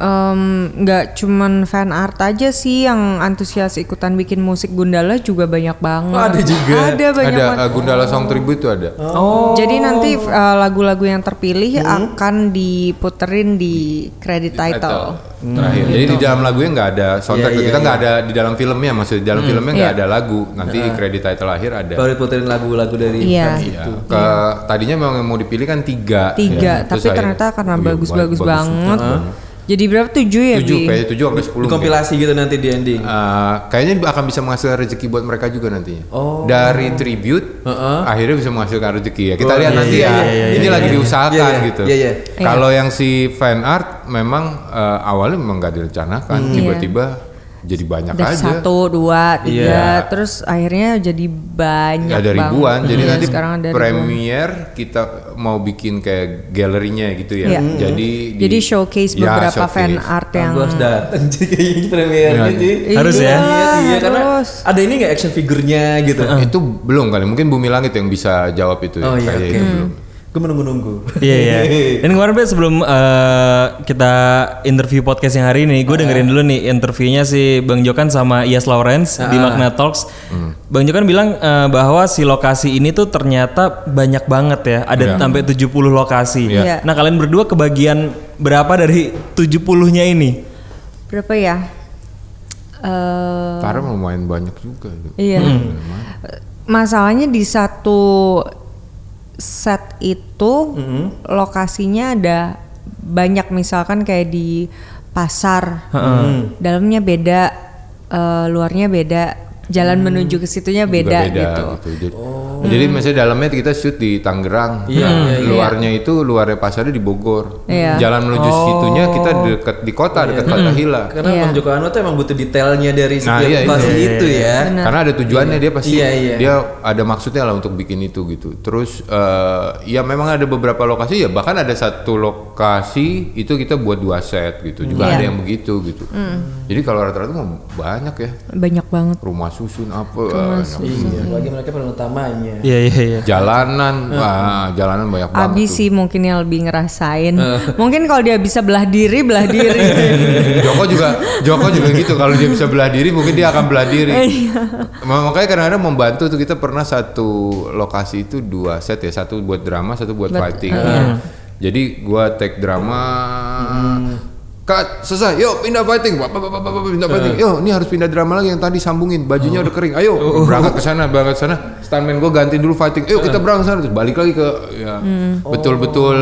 [SPEAKER 5] Em, nggak cuman fan art aja sih yang antusias ikutan bikin musik Gundala juga banyak banget.
[SPEAKER 1] Oh, ada juga.
[SPEAKER 5] Ada banyak
[SPEAKER 4] ada
[SPEAKER 5] banget.
[SPEAKER 4] eh, Gundala Song Tribute tuh ada.
[SPEAKER 1] Oh.
[SPEAKER 5] Jadi nanti eh, lagu-lagu yang terpilih akan diputerin di credit title.
[SPEAKER 4] terakhir. Jadi di dalam lagunya nggak ada soundtrack.
[SPEAKER 1] Hmm, Iya,
[SPEAKER 4] gitu.
[SPEAKER 1] iya,
[SPEAKER 4] kita nggak ada di dalam filmnya, maksudnya di dalam filmnya
[SPEAKER 5] Iya.
[SPEAKER 4] nggak ada lagu. Nanti kredit title akhir ada.
[SPEAKER 1] Baru diputerin lagu-lagu dari
[SPEAKER 5] Iya.
[SPEAKER 1] fans
[SPEAKER 4] Iya.
[SPEAKER 1] itu.
[SPEAKER 4] Ke tadinya memang yang mau dipilih kan tiga. Ya,
[SPEAKER 5] Tiga,
[SPEAKER 4] terus
[SPEAKER 5] tapi
[SPEAKER 4] akhirnya-
[SPEAKER 5] ternyata karena
[SPEAKER 4] Oh iya,
[SPEAKER 5] bagus-bagus banget.
[SPEAKER 4] banget.
[SPEAKER 5] Jadi berapa tujuh ya?
[SPEAKER 4] Tujuh,
[SPEAKER 5] Bi?
[SPEAKER 4] kayaknya tujuh sampai sepuluh. mungkin.
[SPEAKER 1] Kompilasi gitu nanti di ending.
[SPEAKER 4] Eh, kayaknya akan bisa menghasilkan rezeki buat mereka juga nantinya.
[SPEAKER 1] Oh.
[SPEAKER 4] Dari tribute akhirnya bisa menghasilkan rezeki ya.
[SPEAKER 1] Oh,
[SPEAKER 4] Kita lihat nanti ya. ini lagi diusahakan
[SPEAKER 1] Iya, iya,
[SPEAKER 4] gitu.
[SPEAKER 1] iya, iya.
[SPEAKER 4] Kalau yang si fan art memang eh, awalnya memang nggak direncanakan, tiba-tiba jadi banyak
[SPEAKER 5] dari
[SPEAKER 4] aja.
[SPEAKER 5] Hmm. Iya. satu dua tiga
[SPEAKER 1] Iya.
[SPEAKER 5] terus akhirnya jadi banyak
[SPEAKER 4] ada
[SPEAKER 5] banget.
[SPEAKER 4] ribuan jadi
[SPEAKER 5] Iya,
[SPEAKER 4] nanti
[SPEAKER 5] sekarang ada ribuan.
[SPEAKER 4] premier kita mau bikin kayak galerinya gitu ya
[SPEAKER 1] Hmm.
[SPEAKER 5] Iya.
[SPEAKER 4] jadi di-
[SPEAKER 5] jadi showcase
[SPEAKER 4] Ya,
[SPEAKER 5] beberapa fan
[SPEAKER 4] showcase.
[SPEAKER 5] art
[SPEAKER 1] Yang
[SPEAKER 5] yang
[SPEAKER 1] harus datang jadi kayak gini premier
[SPEAKER 4] Iya.
[SPEAKER 1] gitu.
[SPEAKER 3] Harus ya?
[SPEAKER 1] Iya, iya karena
[SPEAKER 5] harus.
[SPEAKER 1] ada ini nggak action figurnya gitu.
[SPEAKER 4] itu belum kali mungkin bumi langit yang bisa jawab itu ya,
[SPEAKER 1] Oh iya,
[SPEAKER 4] kayaknya
[SPEAKER 1] oke.
[SPEAKER 4] itu
[SPEAKER 5] Hmm.
[SPEAKER 4] belum
[SPEAKER 1] Gue menunggu-nunggu.
[SPEAKER 3] Iya iya. Dan kemarin Pe, sebelum eh, kita interview podcast yang hari ini, gue dengerin dulu nih interviewnya si Bang Jokan sama Ias Lawrence di Magna Talks. Bang Jokan bilang eh, bahwa si lokasi ini tuh ternyata banyak banget ya, ada sampai 70 lokasi.
[SPEAKER 5] Iya. Iya.
[SPEAKER 3] Nah, kalian berdua kebagian berapa dari 70-nya ini?
[SPEAKER 5] berapa ya Eh,
[SPEAKER 4] Karena lumayan banyak juga gitu. itu.
[SPEAKER 5] iya
[SPEAKER 4] Hmm.
[SPEAKER 5] masalahnya di satu set itu
[SPEAKER 4] Hmm.
[SPEAKER 5] lokasinya ada banyak misalkan kayak di pasar dalamnya beda eh, luarnya beda jalan menuju ke situnya
[SPEAKER 4] Hmm. Juga
[SPEAKER 5] beda, gitu.
[SPEAKER 4] Jadi,
[SPEAKER 1] Oh.
[SPEAKER 4] jadi misalnya dalamnya kita shoot di Tangerang,
[SPEAKER 1] Iya,
[SPEAKER 4] Hmm. luarnya itu luarnya pasarnya di Bogor.
[SPEAKER 5] Iya.
[SPEAKER 4] Jalan menuju
[SPEAKER 1] Oh.
[SPEAKER 4] situnya kita dekat
[SPEAKER 1] Iya.
[SPEAKER 4] di kota, dekat Fathahila.
[SPEAKER 1] Karena
[SPEAKER 5] Iya.
[SPEAKER 1] Bang Joko Anwar tuh emang butuh detailnya dari
[SPEAKER 4] Nah,
[SPEAKER 1] setiap
[SPEAKER 4] iya, itu.
[SPEAKER 1] lokasi
[SPEAKER 4] Iya,
[SPEAKER 1] itu ya.
[SPEAKER 4] Karena ada tujuannya dia pasti
[SPEAKER 1] Iya, iya.
[SPEAKER 4] dia ada maksudnya lah untuk bikin itu gitu. Terus eh, ya memang ada beberapa lokasi ya bahkan ada satu lokasi itu kita buat dua set gitu. Juga
[SPEAKER 5] Iya. Mm.
[SPEAKER 4] ada yang begitu gitu. Jadi kalau rata-rata mau banyak ya
[SPEAKER 5] Banyak banget.
[SPEAKER 4] rumah susun apa eh,
[SPEAKER 1] Iya, lagi mereka peran utamanya.
[SPEAKER 3] Iya iya iya.
[SPEAKER 4] jalanan wah jalanan banyak banget.
[SPEAKER 5] Abi sih mungkin yang lebih ngerasain.
[SPEAKER 4] Eh.
[SPEAKER 5] Mungkin kalau dia bisa belah diri, belah diri.
[SPEAKER 4] Joko juga Joko juga gitu kalau dia bisa belah diri mungkin dia akan belah diri Ma- makanya kadang-kadang membantu tuh kita pernah satu lokasi itu dua set ya satu buat drama satu buat fighting Nah, jadi gua take drama Cut, selesai, yuk pindah fighting, Wah, wah, wah, wah, wah, pindah fighting, yuk ini harus pindah drama lagi yang tadi sambungin, bajunya udah kering, ayo berangkat ke sana, berangkat ke sana, stuntman gue ganti dulu fighting, yuk kita berangkat ke sana, terus balik lagi ke, ya betul-betul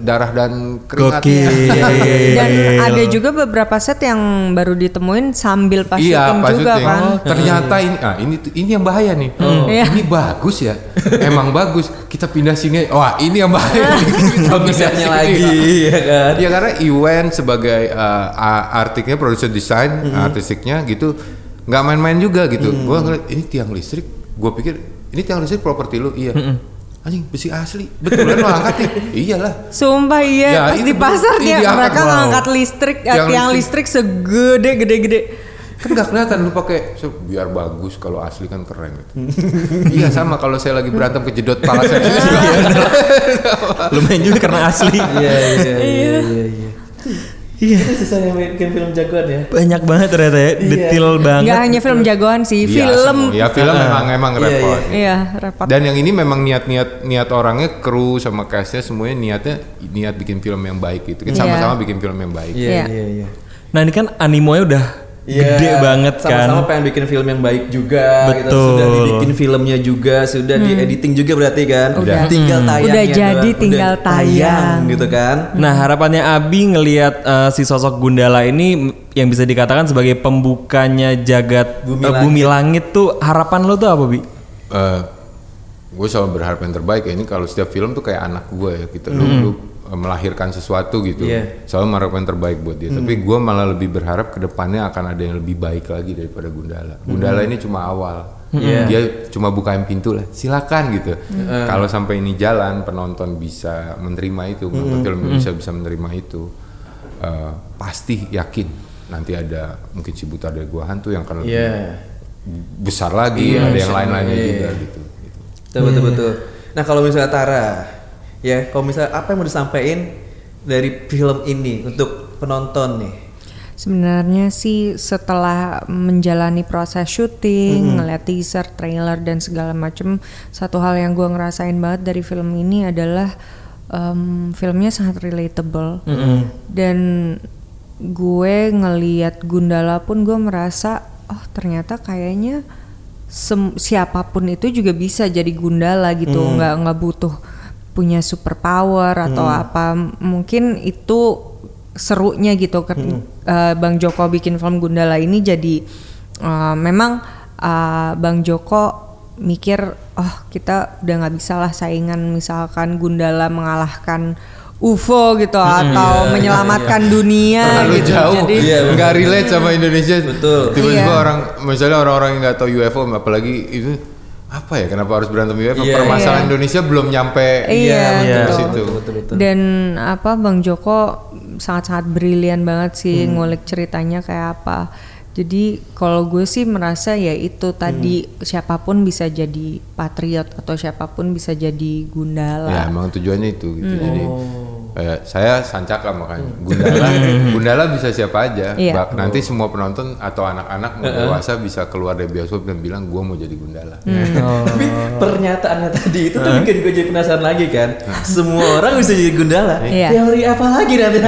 [SPEAKER 4] darah dan keringat, Iya,
[SPEAKER 3] Gokil.
[SPEAKER 5] Dan ada juga beberapa set yang baru ditemuin sambil pas
[SPEAKER 4] Iya,
[SPEAKER 5] syuting
[SPEAKER 4] pas
[SPEAKER 5] juga
[SPEAKER 4] syuting.
[SPEAKER 5] kan.
[SPEAKER 4] Ternyata ini, ah, ini tuh- ini yang bahaya nih. Oh,
[SPEAKER 5] Iya.
[SPEAKER 4] Ini bagus ya, emang bagus. Kita pindah sini. Wah, ini yang bahaya. Kita
[SPEAKER 1] Misalnya
[SPEAKER 4] sini.
[SPEAKER 1] lagi, ya kan?
[SPEAKER 4] Ya karena Iwan sebagai eh, a- artiknya produser desain,
[SPEAKER 5] Hmm.
[SPEAKER 4] artistiknya gitu nggak main-main juga gitu. Gua ngeliat ini tiang listrik, gua pikir ini tiang listrik properti lu. Iya.
[SPEAKER 5] Hmm.
[SPEAKER 4] Anjing besi asli. Betulan lo angkat nih. Iyalah.
[SPEAKER 5] Sumpah iya,
[SPEAKER 4] Ya,
[SPEAKER 5] pas
[SPEAKER 4] itu
[SPEAKER 5] di
[SPEAKER 4] betul.
[SPEAKER 5] pasar
[SPEAKER 4] Ini
[SPEAKER 5] dia
[SPEAKER 4] diangkat,
[SPEAKER 5] mereka
[SPEAKER 4] wow.
[SPEAKER 5] ngangkat listrik, eh,
[SPEAKER 4] Tiang
[SPEAKER 5] tiang,
[SPEAKER 4] listrik.
[SPEAKER 5] listrik segede gede gede.
[SPEAKER 4] kan nggak kelihatan lu pakai so, biar bagus kalau asli kan keren gitu. iya sama kalau saya lagi berantem kejedot pala saya
[SPEAKER 5] Iya,
[SPEAKER 3] Lumayan juga karena asli.
[SPEAKER 1] Iya iya iya iya. iya. Itu susah yang main game film jagoan ya.
[SPEAKER 3] Banyak banget ternyata ya, detail banget.
[SPEAKER 5] Iya. Nggak hanya film jagoan sih,
[SPEAKER 4] Iya,
[SPEAKER 5] film.
[SPEAKER 4] semua. ya film memang emang
[SPEAKER 1] Iya,
[SPEAKER 4] repot
[SPEAKER 5] Iya, repot.
[SPEAKER 4] dan yang ini memang niat niat niat orangnya kru sama castnya semuanya niatnya niat bikin film yang baik gitu Kita
[SPEAKER 5] Iya.
[SPEAKER 4] sama-sama bikin film yang baik
[SPEAKER 1] Iya
[SPEAKER 5] Iya.
[SPEAKER 1] iya iya.
[SPEAKER 3] Nah ini kan animonya udah gede
[SPEAKER 1] sama
[SPEAKER 3] banget kan.
[SPEAKER 1] Iya. Sama-sama pengen bikin film yang baik juga gitu.
[SPEAKER 3] Betul.
[SPEAKER 1] Sudah dibikin filmnya juga, sudah diediting juga berarti kan.
[SPEAKER 5] Hmm. Udah.
[SPEAKER 1] Tinggal
[SPEAKER 5] Hmm.
[SPEAKER 1] tayang.
[SPEAKER 5] Udah jadi, tinggal tayang.
[SPEAKER 1] gitu kan.
[SPEAKER 3] Nah harapannya Abi ngelihat eh, si sosok Gundala ini m- yang bisa dikatakan sebagai pembukanya jagat eh,
[SPEAKER 1] Bumi
[SPEAKER 3] bumi, langit. tuh harapan lo tuh apa bi?
[SPEAKER 4] gue Eh, selalu berharap yang terbaik ya ini kalau setiap film tuh kayak anak gue ya gitu lu, lu, eh, melahirkan sesuatu gitu
[SPEAKER 1] Hmm. Iya. Hmm.
[SPEAKER 4] selalu mengharapkan yang terbaik buat dia tapi gue malah lebih berharap kedepannya akan ada yang lebih baik lagi daripada Gundala Gundala ini cuma awal
[SPEAKER 1] Hmm. Iya. Hmm.
[SPEAKER 4] dia cuma bukain pintu lah silakan gitu kalau sampai ini jalan penonton bisa menerima itu
[SPEAKER 1] Hmm.
[SPEAKER 4] penonton film bisa bisa menerima itu eh, pasti yakin nanti ada mungkin si buta dari gua hantu yang akan lebih
[SPEAKER 1] Iya.
[SPEAKER 4] besar lagi ada yang lain-lainnya juga gitu, gitu.
[SPEAKER 1] Betul betul betul. Nah, kalau misalnya Tara ya, kalau misalnya apa yang mau disampaikan dari film ini untuk penonton nih?
[SPEAKER 5] Sebenarnya sih setelah menjalani proses syuting, ngeliat teaser, trailer dan segala macem, satu hal yang gua ngerasain banget dari film ini adalah em, filmnya sangat relatable dan gue ngeliat Gundala pun gue merasa oh ternyata kayaknya sem- siapapun itu juga bisa jadi Gundala gitu, nggak nggak butuh punya superpower atau apa mungkin itu serunya gitu kan eh, Bang Joko bikin film Gundala ini jadi eh, memang eh, Bang Joko mikir oh kita udah nggak bisa lah saingan misalkan Gundala mengalahkan UFO gitu atau menyelamatkan
[SPEAKER 4] Iya.
[SPEAKER 5] dunia
[SPEAKER 4] terlalu
[SPEAKER 5] gitu
[SPEAKER 4] jauh
[SPEAKER 5] jadi
[SPEAKER 1] Iya, betul.
[SPEAKER 4] nggak relate sama Indonesia
[SPEAKER 1] Betul.
[SPEAKER 4] tiba-tiba
[SPEAKER 5] Iya.
[SPEAKER 4] orang misalnya orang-orang yang nggak tahu UFO apalagi itu apa ya kenapa harus berantem UFO
[SPEAKER 1] Iya,
[SPEAKER 4] permasalahan
[SPEAKER 5] iya.
[SPEAKER 4] Indonesia belum nyampe
[SPEAKER 5] Iya,
[SPEAKER 4] ke
[SPEAKER 5] betul.
[SPEAKER 4] situ
[SPEAKER 1] betul betul.
[SPEAKER 5] Dan apa Bang Joko sangat-sangat brilian banget sih
[SPEAKER 1] Hmm.
[SPEAKER 5] ngulik ceritanya kayak apa. Jadi kalau gue sih merasa ya itu tadi
[SPEAKER 1] Hmm.
[SPEAKER 5] siapapun bisa jadi patriot atau siapapun bisa jadi
[SPEAKER 4] ya
[SPEAKER 5] gundala.
[SPEAKER 4] emang tujuannya itu gitu jadi eh, saya sancaka makanya Gundala Gundala bisa siapa aja
[SPEAKER 5] Iya.
[SPEAKER 4] Bak- nanti semua penonton atau anak-anak mau dewasa bisa keluar dari bioskop dan bilang gue mau jadi Gundala
[SPEAKER 1] Tapi pernyataannya tadi itu tuh bikin gue jadi penasaran lagi kan. Semua orang bisa jadi gundala.
[SPEAKER 5] Iya.
[SPEAKER 1] Teori apa lagi nanti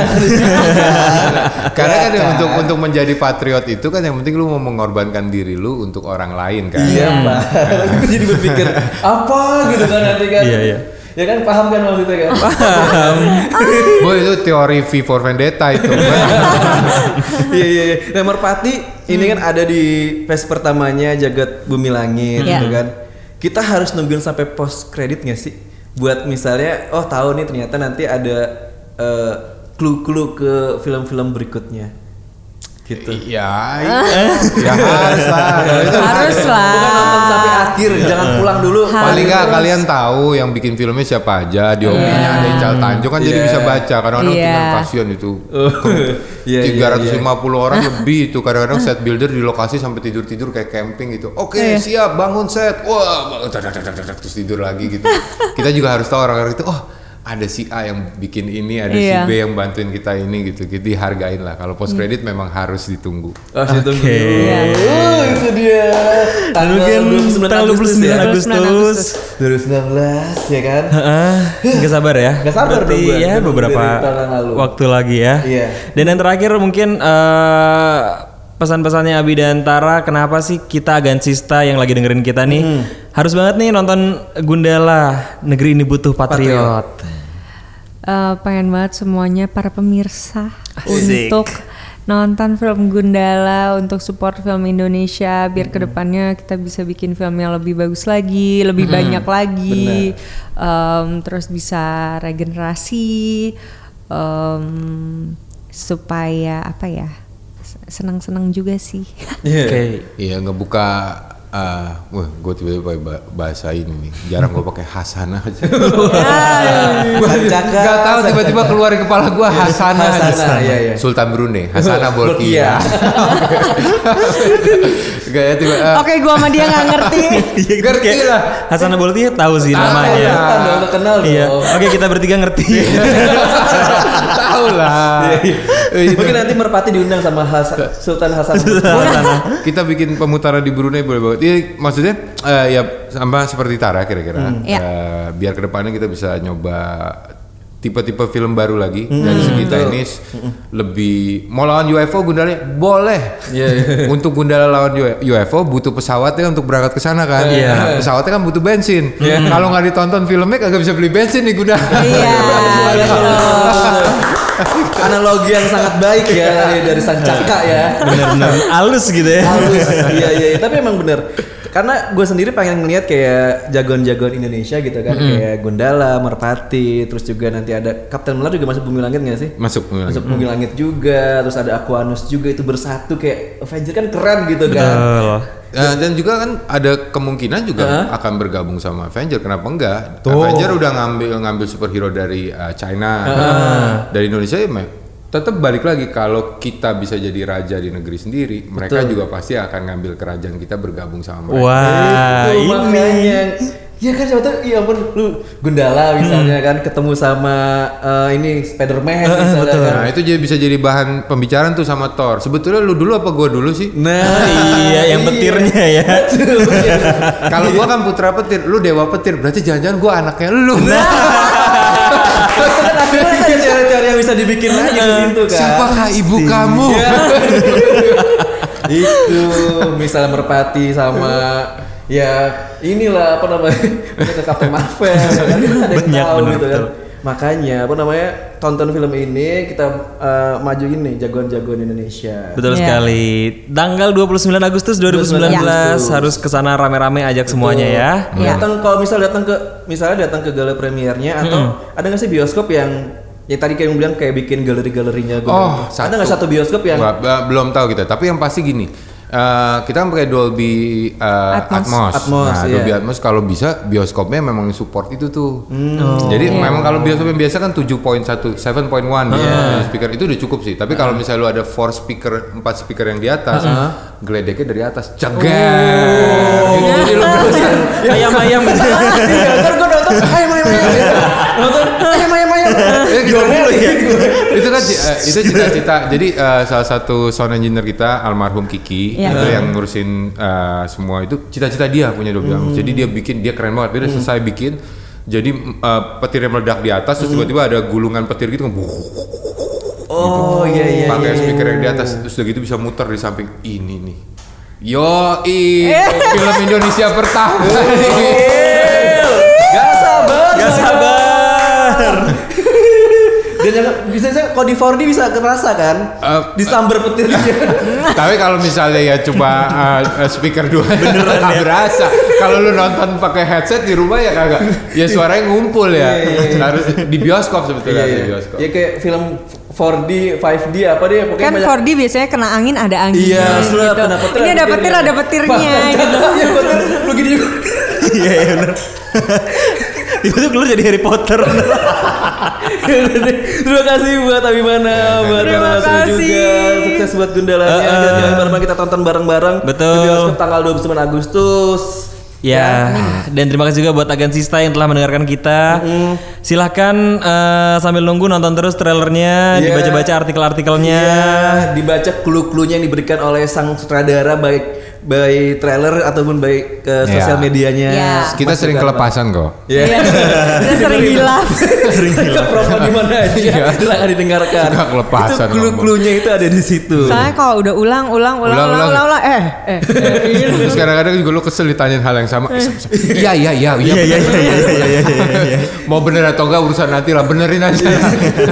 [SPEAKER 4] Karena kan yang untuk untuk menjadi patriot itu kan yang penting lu mau mengorbankan diri lu untuk orang lain kan.
[SPEAKER 1] Iya, Pak. Aku jadi berpikir apa gitu kan nanti kan.
[SPEAKER 3] Iya, iya.
[SPEAKER 1] ya kan paham kan maksudnya kan?
[SPEAKER 3] Paham.
[SPEAKER 4] Boy itu teori V for Vendetta itu. kan?
[SPEAKER 1] Iya iya. iya. Nah Merpati ini kan ada di fase pertamanya jagat bumi langit
[SPEAKER 5] Iya.
[SPEAKER 1] gitu kan. Kita harus nungguin sampai post kredit nggak sih? Buat misalnya, oh tahu nih ternyata nanti ada eh, clue-clue ke film-film berikutnya. Gitu.
[SPEAKER 4] Iya. Ya harus lah. Itu
[SPEAKER 5] Harus lah.
[SPEAKER 1] Bukan nonton sampai akhir, jangan pulang dulu.
[SPEAKER 4] Paling nggak kalian tahu yang bikin filmnya siapa aja, diomongnya ada Ical Tanjung kan jadi bisa baca kadang-kadang
[SPEAKER 5] Iya.
[SPEAKER 4] tinggal kasihan itu.
[SPEAKER 1] Iya, iya, iya.
[SPEAKER 4] 350 orang lebih itu kadang-kadang set builder di lokasi sampai tidur-tidur kayak camping gitu. Oke,
[SPEAKER 1] Iya,
[SPEAKER 4] siap bangun set. Wah, bangun, tak, tak, tak, tak, tak, tak, terus tidur lagi gitu. Kita juga harus tahu orang-orang itu, oh ada si A yang bikin ini, ada
[SPEAKER 5] Iya.
[SPEAKER 4] si B yang bantuin kita ini gitu. Jadi hargain lah. Kalau post
[SPEAKER 1] Iya.
[SPEAKER 4] credit memang harus ditunggu.
[SPEAKER 1] Oh, situ dulu.
[SPEAKER 3] Iya.
[SPEAKER 1] Oh, itu dia. Tanggal
[SPEAKER 3] Mungkin
[SPEAKER 1] 29
[SPEAKER 3] tanggal
[SPEAKER 1] Agustus ya.
[SPEAKER 3] 29
[SPEAKER 5] Agustus.
[SPEAKER 3] Agustus.
[SPEAKER 1] 2019 ya kan?
[SPEAKER 3] Heeh, nggak sabar ya.
[SPEAKER 1] Nggak sabar
[SPEAKER 3] Berarti
[SPEAKER 1] dong gua,
[SPEAKER 3] ya
[SPEAKER 1] dari-
[SPEAKER 3] beberapa
[SPEAKER 1] dari tahun yang lalu.
[SPEAKER 3] waktu lagi ya.
[SPEAKER 1] Iya.
[SPEAKER 3] Dan yang terakhir mungkin eh, pesan-pesannya Abi dan Tara, kenapa sih kita agansista yang lagi dengerin kita nih
[SPEAKER 1] Hmm.
[SPEAKER 3] harus banget nih nonton Gundala Negeri ini butuh patriot.
[SPEAKER 5] Eh, pengen banget semuanya para pemirsa untuk nonton film Gundala untuk support film Indonesia biar kedepannya kita bisa bikin film yang lebih bagus lagi lebih banyak lagi Em, terus bisa regenerasi em, supaya apa ya senang-senang juga sih
[SPEAKER 1] Iya.
[SPEAKER 3] Oke.
[SPEAKER 4] Iya ngebuka eh wah gue tiba-tiba pakai ba- bahasa ini nih. Jarang gue pakai Hasanah aja.
[SPEAKER 1] Sancaka.
[SPEAKER 4] Gak tahu tiba-tiba keluar di kepala gue Iya, Hasanah. Iya. aja.
[SPEAKER 1] Hasanah, iya, iya.
[SPEAKER 4] Sultan Brunei, Hasanah
[SPEAKER 1] Bolkiah.
[SPEAKER 4] Bolkiah. Gaya tiba eh,
[SPEAKER 5] oke gua sama dia nggak ngerti
[SPEAKER 3] Iya, gitu
[SPEAKER 4] Ngerti
[SPEAKER 3] kayak
[SPEAKER 4] lah.
[SPEAKER 3] Hasan Abolti tahu sih namanya.
[SPEAKER 1] Kan dong terkenal dong.
[SPEAKER 3] Iya. Oke, kita bertiga ngerti.
[SPEAKER 1] Iya.
[SPEAKER 4] tahu lah. Eh, itu.
[SPEAKER 1] Mungkin nanti Merpati diundang sama Hasan- Sultan Hasan.
[SPEAKER 4] Kita bikin pemutaran di Brunei boleh banget. Iya, maksudnya eh, ya sama seperti Tara kira-kira.
[SPEAKER 5] Iya.
[SPEAKER 4] Eh, biar kedepannya kita bisa nyoba tipe-tipe film baru lagi dari segi teknis lebih mau lawan UFO Gundala boleh untuk Gundala lawan UFO butuh pesawatnya untuk berangkat ke sana kan Nah, pesawatnya kan butuh bensin kalau nggak ditonton filmnya kagak bisa beli bensin nih Gundala
[SPEAKER 5] iya
[SPEAKER 1] Analogi yang sangat baik ya dari Sancaka ya.
[SPEAKER 3] Benar-benar halus gitu ya.
[SPEAKER 1] Halus. Iya iya iya. tapi emang bener karena gue sendiri pengen ngeliat kayak jagoan-jagoan Indonesia gitu kan kayak Gundala, Merpati, terus juga nanti ada Kapten Melar juga masuk Bumi Langit gak sih?
[SPEAKER 4] masuk
[SPEAKER 1] Masuk Bumi Langit juga, terus ada Aquanus juga itu bersatu kayak Avenger kan keren gitu kan.
[SPEAKER 3] Betul.
[SPEAKER 4] Nah, dan juga kan ada kemungkinan juga akan bergabung sama Avenger. Kenapa enggak? Avenger udah ngambil ngambil superhero dari uh, China, dari Indonesia ya. me- Tetap balik lagi kalau kita bisa jadi raja di negeri sendiri, mereka juga pasti akan ngambil kerajaan kita bergabung sama mereka.
[SPEAKER 3] Wah,
[SPEAKER 1] Nah, Itu
[SPEAKER 3] Nah, ini.
[SPEAKER 1] makanya. Ya kan siapa tahu iya ampun lu Gundala misalnya
[SPEAKER 3] Mm.
[SPEAKER 1] kan ketemu sama eh, ini Spider-Man misalnya kan.
[SPEAKER 4] Nah, itu jadi bisa jadi bahan pembicaraan tuh sama Thor. Sebetulnya lu dulu apa gua dulu sih?
[SPEAKER 1] Nah,
[SPEAKER 3] Iya, yang petirnya ya.
[SPEAKER 1] Betul, iya.
[SPEAKER 4] Kalau gua kan putra petir, lu dewa petir. Berarti jangan-jangan gua anaknya lu.
[SPEAKER 1] Kan akhirnya ada teori-teori yang bisa dibikin lagi di situ kan.
[SPEAKER 4] Siapakah ibu kamu?
[SPEAKER 1] itu misalnya merpati sama ya inilah apa namanya mereka ke Captain Marvel ya kan? Kita ada yang
[SPEAKER 3] Banyak,
[SPEAKER 1] tahu
[SPEAKER 3] bener,
[SPEAKER 1] gitu kan
[SPEAKER 3] betul.
[SPEAKER 1] makanya apa namanya tonton film ini kita eh, majuin nih jagoan-jagoan Indonesia
[SPEAKER 3] Betul
[SPEAKER 5] Iya.
[SPEAKER 3] sekali. Tanggal 29 Agustus 2019
[SPEAKER 1] Agustus.
[SPEAKER 3] harus ke sana rame-rame ajak semuanya ya.
[SPEAKER 5] Iya.
[SPEAKER 1] datang kalau misal datang ke misalnya datang ke gala premiernya atau ada nggak sih bioskop yang ya tadi kayak yang bilang kayak bikin galeri-galerinya gitu.
[SPEAKER 4] Oh,
[SPEAKER 1] ada nggak satu bioskop yang
[SPEAKER 4] Nggak, ba- belum tahu kita. Tapi yang pasti gini, eh, kita kan pakai Dolby eh,
[SPEAKER 5] Atmos.
[SPEAKER 4] Atmos.
[SPEAKER 1] Atmos,
[SPEAKER 4] nah,
[SPEAKER 1] iya.
[SPEAKER 4] Dolby Atmos kalau bisa bioskopnya memang support itu tuh.
[SPEAKER 1] Hmm.
[SPEAKER 4] Oh. Jadi
[SPEAKER 1] Oh.
[SPEAKER 4] memang kalau bioskop yang biasa kan 7.1, 7.1 ya,
[SPEAKER 1] Ah.
[SPEAKER 4] speaker itu udah cukup sih. Tapi kalau misalnya lu ada 4 speaker, 4 speaker yang di atas,
[SPEAKER 1] Ah.
[SPEAKER 4] geledeknya dari
[SPEAKER 1] Oh.
[SPEAKER 4] atas, ceger. Gitu, jadi lu berasa
[SPEAKER 3] Ayam-ayam gitu.
[SPEAKER 1] Iya, ntar gue nonton ayam ayam ayam nonton ayam ayam ayam
[SPEAKER 4] itu kan eh, itu cita-cita. Jadi eh, salah satu sound engineer kita almarhum Kiki
[SPEAKER 5] Iya.
[SPEAKER 4] itu yang ngurusin eh, semua itu cita-cita dia punya dua
[SPEAKER 1] Hmm.
[SPEAKER 4] bilang. Jadi dia bikin dia keren banget. Dia udah selesai bikin. Jadi eh, petirnya meledak di atas
[SPEAKER 1] Hmm.
[SPEAKER 4] terus tiba-tiba ada gulungan petir gitu kan, wuh,
[SPEAKER 1] oh iya iya
[SPEAKER 4] pakai
[SPEAKER 1] iya.
[SPEAKER 4] speaker yang di atas terus udah gitu bisa muter di samping ini nih. Yo, film Indonesia pertama.
[SPEAKER 1] Gak sabar
[SPEAKER 3] Gak
[SPEAKER 1] saya.
[SPEAKER 3] sabar
[SPEAKER 1] di 4D bisa kerasa kan?
[SPEAKER 4] Eh,
[SPEAKER 1] Disamber petirnya.
[SPEAKER 4] Tapi kalau misalnya ya coba eh, eh, speaker dua beneran ya? berasa. Kalau lu nonton pakai headset di rumah ya kagak. Ya suaranya ngumpul ya. Harus di bioskop
[SPEAKER 3] Iya,
[SPEAKER 4] sebetulnya di bioskop.
[SPEAKER 1] Ya kayak film 4D, 5D apa deh pokoknya
[SPEAKER 5] Kan 4D biasanya kena angin ada angin.
[SPEAKER 1] Iya,
[SPEAKER 5] gitu.
[SPEAKER 1] sudah kena petir,
[SPEAKER 5] Ini ada petir
[SPEAKER 1] petirnya.
[SPEAKER 5] ada petirnya.
[SPEAKER 1] Bang,
[SPEAKER 5] gitu.
[SPEAKER 1] Iya bener. Lu gini juga.
[SPEAKER 3] Iya iya bener. Tiba-tiba keluar jadi Harry Potter.
[SPEAKER 1] Terima kasih buat Abimana, buat
[SPEAKER 5] Terima
[SPEAKER 1] Tara Basro
[SPEAKER 5] kasih.
[SPEAKER 1] juga. Sukses buat Gundalanya
[SPEAKER 3] Iya, Eh, eh.
[SPEAKER 1] dan jangan bareng kita tonton bareng-bareng.
[SPEAKER 3] Betul.
[SPEAKER 1] Di bioskop tanggal 29 Agustus.
[SPEAKER 3] Ya, dan terima kasih juga buat Agan Sista yang telah mendengarkan kita. Silahkan eh, sambil nunggu nonton terus trailernya,
[SPEAKER 1] Iya.
[SPEAKER 3] dibaca-baca artikel-artikelnya.
[SPEAKER 1] Ya, dibaca clue-cluenya yang diberikan oleh sang sutradara baik by trailer ataupun baik ke sosial
[SPEAKER 4] Iya.
[SPEAKER 1] medianya.
[SPEAKER 5] Iya.
[SPEAKER 4] Kita sering kelepasan kok.
[SPEAKER 1] Iya.
[SPEAKER 5] Iya. Kita sering hilaf.
[SPEAKER 1] sering hilang. Promo di mana aja silahkan didengarkan.
[SPEAKER 4] Iya. Suka kelepasan
[SPEAKER 1] Itu clue-cluenya itu ada di situ.
[SPEAKER 5] Soalnya kalau udah ulang, ulang, ulang,
[SPEAKER 4] Ulang,
[SPEAKER 5] ulang, ulang,
[SPEAKER 4] ulang.
[SPEAKER 5] ulang, eh, eh.
[SPEAKER 4] Terus kadang-kadang juga lu kesel ditanyain hal yang sama. Eh, sam- sam- Iya iya iya iya.
[SPEAKER 3] Iya, iya, iya, iya, iya, iya, iya, iya.
[SPEAKER 4] Mau bener atau enggak urusan nanti lah benerin aja.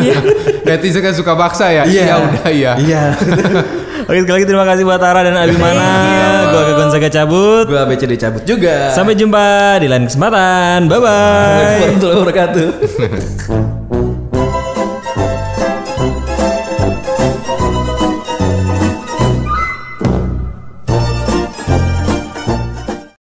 [SPEAKER 4] Netizen kan suka baksa ya. Iya udah iya.
[SPEAKER 1] Iya.
[SPEAKER 3] Oke, sekali lagi terima kasih buat Tara dan Abimana. Gua Gagon Saga cabut.
[SPEAKER 1] Gua BCD cabut juga.
[SPEAKER 3] Sampai jumpa di lain kesempatan. Bye bye.
[SPEAKER 1] warahmatullahi wabarakatuh.